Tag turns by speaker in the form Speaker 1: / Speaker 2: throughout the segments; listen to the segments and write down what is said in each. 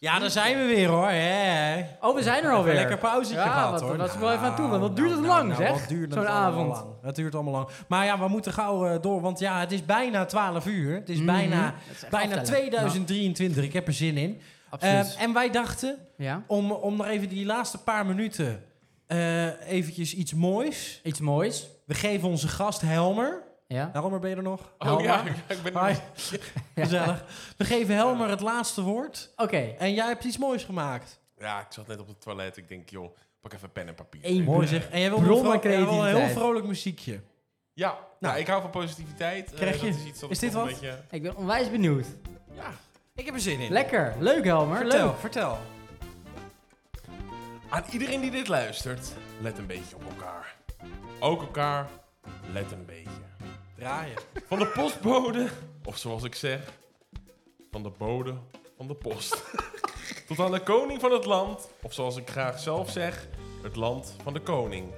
Speaker 1: Ja, daar zijn we weer hoor. hè.
Speaker 2: Oh, we zijn er alweer.
Speaker 1: Even Lekker pauzetje
Speaker 2: Ja,
Speaker 1: gehad
Speaker 2: want
Speaker 1: hoor. Nou,
Speaker 2: daar was ik wel even aan toe, want dat duurt het lang, zeg.
Speaker 1: wat duurt het
Speaker 2: Zo'n
Speaker 1: allemaal
Speaker 2: avond.
Speaker 1: lang. Dat duurt allemaal lang. Maar ja, we moeten gauw eh, door, want ja, het is bijna 12 uur. Het is
Speaker 2: Mhm.
Speaker 1: bijna,
Speaker 2: Dat is echt
Speaker 1: bijna
Speaker 2: aftellen.
Speaker 1: 2023. Ik heb er zin in.
Speaker 2: Ja, absoluut.
Speaker 1: Eh, en wij dachten,
Speaker 2: ja,
Speaker 1: om, om nog even die laatste paar minuten eh eventjes iets moois.
Speaker 2: iets moois.
Speaker 1: We geven onze gast Helmer.
Speaker 2: Ja.
Speaker 1: Helmer, ben je er nog?
Speaker 3: Oh ja, ik ben
Speaker 1: Hi. Gezellig. We geven Helmer het laatste woord.
Speaker 2: Oké. eh,
Speaker 1: En jij hebt iets moois gemaakt.
Speaker 3: Ja, ik zat net op het toilet. Ik denk, joh, pak even pen en papier.
Speaker 2: Eén.
Speaker 1: Mooi zeg. En jij wilde
Speaker 2: Bron
Speaker 1: een vro- jij
Speaker 2: van
Speaker 1: wilde een heel
Speaker 2: creativiteit.
Speaker 1: vrolijk muziekje.
Speaker 3: Ja, nou, ik hou van positiviteit. Eh,
Speaker 1: Krijg je-
Speaker 3: dat is iets dat
Speaker 1: is
Speaker 3: ik
Speaker 1: dit
Speaker 3: toch een
Speaker 1: wat?
Speaker 3: beetje-
Speaker 2: Ik ben onwijs benieuwd.
Speaker 3: ja.
Speaker 1: Ik heb er zin in.
Speaker 2: Lekker. Leuk, Helmer.
Speaker 1: Vertel,
Speaker 2: Leuk.
Speaker 1: vertel.
Speaker 3: Aan iedereen die dit luistert, let een beetje op elkaar. Ook elkaar, let een beetje.
Speaker 1: Draaien.
Speaker 3: Van de postbode, of zoals ik zeg, van de bode van de post. Tot aan de koning van het land, of zoals ik graag zelf zeg, het land van de koning.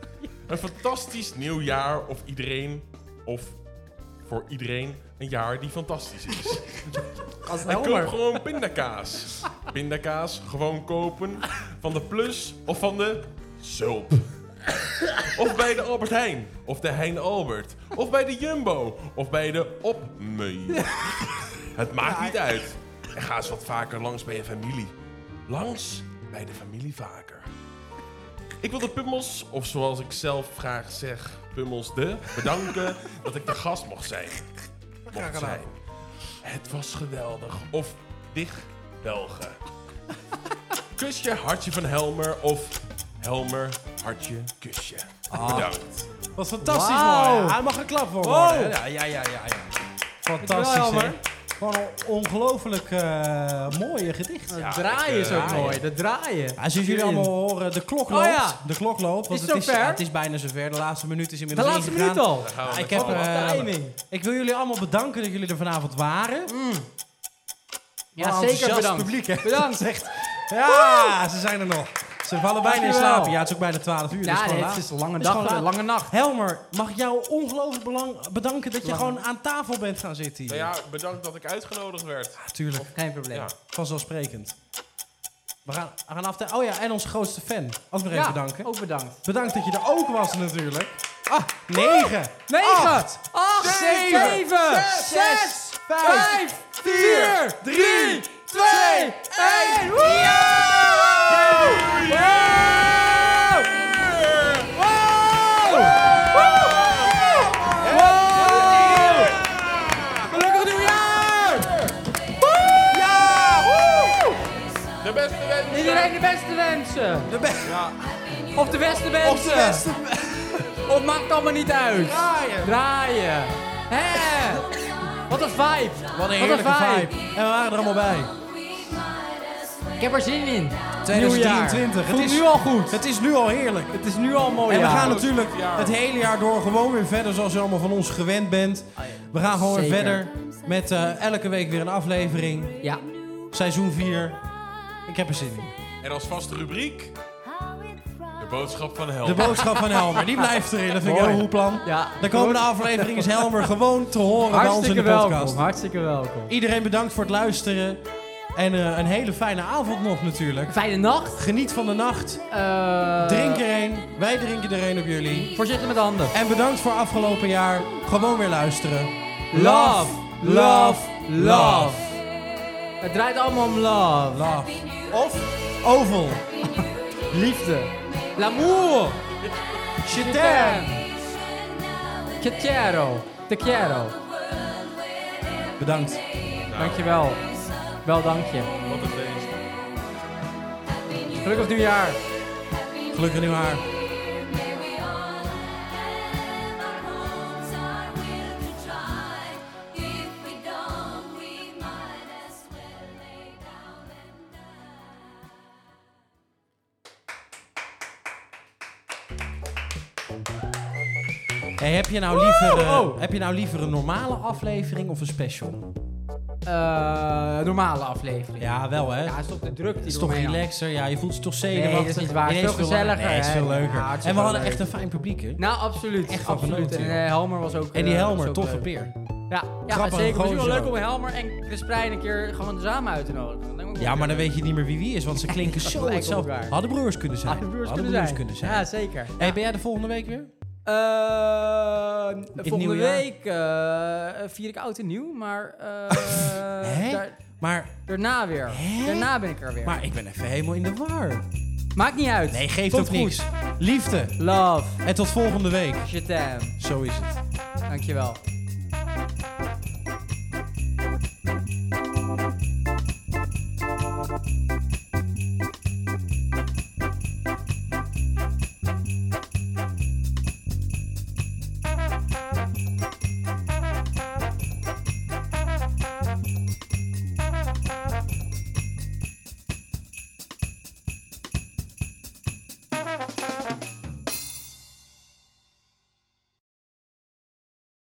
Speaker 3: Een fantastisch nieuw jaar of iedereen, of voor iedereen, een jaar die fantastisch is.
Speaker 1: Als
Speaker 3: En koop gewoon pindakaas. Pindakaas gewoon kopen van de Plus of van de Zulp. Of bij de Albert Heijn. Of de Heijn Albert. Of bij de Jumbo. Of bij de Opmeu. Het maakt niet uit. En ga eens wat vaker langs bij je familie. Langs bij de familie vaker. Ik wil de pummels, of zoals ik zelf graag zeg, pummels de, bedanken dat ik de gast mocht zijn. Mocht zijn. Het was geweldig. Of dicht Belgen. Kusje, hartje van Helmer. Of Helmer, hartje, kusje. Bedankt.
Speaker 1: was fantastisch
Speaker 2: Wauw.
Speaker 1: mooi. Hij mag een klap voor
Speaker 2: Wow.
Speaker 1: worden. Ja, ja, ja, ja. ja.
Speaker 2: Dankjewel,
Speaker 1: Fantastisch, hè?
Speaker 2: Elmer.
Speaker 1: Gewoon een ongelooflijk eh, mooie gedicht.
Speaker 2: Dat
Speaker 3: Ja,
Speaker 2: draaien is ook
Speaker 3: lekker.
Speaker 2: mooi. Dat draaien.
Speaker 1: eh, Ja, zoals jullie
Speaker 2: Hierin.
Speaker 1: allemaal horen, de klok loopt.
Speaker 2: Oh ja.
Speaker 1: De klok loopt. Want
Speaker 2: Is
Speaker 1: het,
Speaker 2: het
Speaker 1: is,
Speaker 2: zover?
Speaker 1: ja, het is bijna zover. De laatste minuut is
Speaker 2: De
Speaker 1: inmiddels
Speaker 2: laatste
Speaker 1: ingegaan.
Speaker 2: minuut al.
Speaker 3: Daar gaan we
Speaker 1: Ja,
Speaker 3: met
Speaker 1: ik, heb,
Speaker 3: z'n allen.
Speaker 1: eh,
Speaker 2: Timing.
Speaker 1: ik wil jullie allemaal bedanken dat jullie er vanavond waren.
Speaker 2: Ja,
Speaker 1: Wat een
Speaker 2: zeker
Speaker 1: enthousiast
Speaker 2: bedankt.
Speaker 1: publiek, hè?
Speaker 2: Bedankt.
Speaker 1: Echt. Ja, ze zijn er nog. Ze vallen bijna in
Speaker 2: Dankjewel.
Speaker 1: slaap. Ja, het is ook bijna 12 uur. dus
Speaker 2: Ja,
Speaker 1: gewoon
Speaker 2: nee,
Speaker 1: laat.
Speaker 2: het is een lange
Speaker 1: Het is gewoon
Speaker 2: dag, een
Speaker 1: laat.
Speaker 2: lange nacht.
Speaker 1: Helmer, mag ik jou ongelooflijk belang bedanken dat je
Speaker 2: Lang.
Speaker 1: gewoon aan tafel bent gaan zitten hier?
Speaker 3: Nou ja, bedankt dat ik uitgenodigd werd.
Speaker 1: Tuurlijk,
Speaker 2: Geen probleem.
Speaker 3: Ja.
Speaker 1: vanzelfsprekend. We gaan, we gaan aftellen. Oh ja, en onze grootste fan. Ook nog even
Speaker 2: Ja,
Speaker 1: bedanken.
Speaker 2: ook bedankt.
Speaker 1: Bedankt dat je er ook was natuurlijk. Ah, 9,
Speaker 2: 9,
Speaker 1: Acht.
Speaker 2: 8,
Speaker 1: Zeven.
Speaker 2: 7,
Speaker 1: Zes.
Speaker 2: 6, 5, 4,
Speaker 1: 4, 3, 2,
Speaker 2: 1. Woe! Gelukkig nieuwjaar!
Speaker 3: De beste
Speaker 2: Iedereen
Speaker 3: wensen.
Speaker 2: de beste wensen.
Speaker 1: De beste
Speaker 2: Of de beste wensen.
Speaker 1: of de beste
Speaker 2: Of maakt allemaal niet uit.
Speaker 1: draaien.
Speaker 2: Draaien. Hè? Wat een vibe.
Speaker 1: Wat een heerlijke vibe. En we waren er allemaal bij.
Speaker 2: Ik heb er zin in.
Speaker 1: 2023.
Speaker 2: Het is
Speaker 1: nu
Speaker 2: nu al goed.
Speaker 1: Het is nu al heerlijk.
Speaker 2: Het is nu al mooi.
Speaker 1: En we
Speaker 2: jaar.
Speaker 1: gaan natuurlijk
Speaker 3: Ja.
Speaker 1: het hele jaar door gewoon weer verder zoals je allemaal van ons gewend bent. We gaan gewoon weer
Speaker 2: Zeker.
Speaker 1: verder met eh, elke week weer een aflevering.
Speaker 2: Ja.
Speaker 1: Seizoen 4. Ik heb er zin in.
Speaker 3: En als vaste rubriek, de boodschap van
Speaker 1: De
Speaker 3: Helmer.
Speaker 1: boodschap van Helmer, die blijft erin. Dat vind ik
Speaker 2: Oh. Mooi.
Speaker 1: een heel goed plan.
Speaker 2: Ja.
Speaker 1: De komende aflevering is Helmer gewoon te horen bij ons in de
Speaker 2: Hartstikke
Speaker 1: podcast.
Speaker 2: welkom. Hartstikke welkom.
Speaker 1: Iedereen bedankt voor het luisteren. En eh, een hele fijne avond nog natuurlijk.
Speaker 2: Fijne nacht.
Speaker 1: Geniet van de nacht.
Speaker 2: Eh,
Speaker 1: Drink er een. Wij drinken er een op jullie.
Speaker 2: Voorzichtig met de handen.
Speaker 1: En bedankt voor afgelopen jaar. Gewoon weer luisteren.
Speaker 2: Love, love, love. Het draait allemaal om love.
Speaker 1: Love. Of Oval.
Speaker 2: Liefde. L'amour.
Speaker 1: Je
Speaker 2: Te
Speaker 1: t'aime.
Speaker 2: quiero. Te quiero.
Speaker 1: Bedankt.
Speaker 2: Dankjewel. Wel dank je.
Speaker 3: Wat een feest.
Speaker 2: Gelukkig nieuwjaar.
Speaker 1: Gelukkig nieuw haar.
Speaker 4: May we all have our homes, our will to try. If we don't, we might as well lay down and die.
Speaker 1: Hey, heb, je nou liever, eh,
Speaker 2: Oh.
Speaker 1: heb je nou liever een normale aflevering of een special?
Speaker 2: Eh, normale aflevering.
Speaker 1: Ja, wel hè.
Speaker 2: Ja, is toch de druk die
Speaker 1: Het is
Speaker 2: er
Speaker 1: toch
Speaker 2: omheen hangt.
Speaker 1: relaxer, ja, je voelt je toch zeker.
Speaker 2: Nee, dat is niet waar. Veel gezelliger,
Speaker 1: Nee, het is
Speaker 2: hè.
Speaker 1: veel leuker.
Speaker 2: Ja, het is
Speaker 1: en we
Speaker 2: wel
Speaker 1: hadden
Speaker 2: leuk.
Speaker 1: echt een fijn publiek, hè?
Speaker 2: Nou, absoluut.
Speaker 1: Echt van
Speaker 2: absoluut.
Speaker 1: genoten,
Speaker 2: En
Speaker 1: joh.
Speaker 2: eh, Helmer was ook.
Speaker 1: En die
Speaker 2: eh, was
Speaker 1: Helmer,
Speaker 2: ook
Speaker 1: toffe
Speaker 2: leuk.
Speaker 1: peer.
Speaker 2: Ja, ja
Speaker 1: Grappige
Speaker 2: zeker. Het is wel
Speaker 1: gozer
Speaker 2: leuk
Speaker 1: ook.
Speaker 2: om Helmer en Chris Prijn een keer gewoon samen uit te nodigen. Dan denk ik,
Speaker 1: Ja, maar dan weet je niet meer wie wie is, want ze klinken zo
Speaker 2: lijken op
Speaker 1: hetzelfde.
Speaker 2: elkaar.
Speaker 1: Hadden broers kunnen zijn.
Speaker 2: Hadden broers kunnen zijn. Ja, zeker.
Speaker 1: hey, ben jij de volgende week weer?
Speaker 2: Ehm, volgende
Speaker 1: nieuwe jaar?
Speaker 2: week eh, vier ik oud en nieuw, maar eh,
Speaker 1: Hè?
Speaker 2: daar-
Speaker 1: Maar,
Speaker 2: daarna weer.
Speaker 1: Hè?
Speaker 2: Daarna ben ik er weer.
Speaker 1: maar ik ben even helemaal in de war.
Speaker 2: Maakt niet uit.
Speaker 1: Nee, geeft
Speaker 2: Komt
Speaker 1: ook niks.
Speaker 2: goed.
Speaker 1: Liefde.
Speaker 2: Love,
Speaker 1: En tot volgende week.
Speaker 2: je tam.
Speaker 1: Zo is het.
Speaker 2: Dankjewel.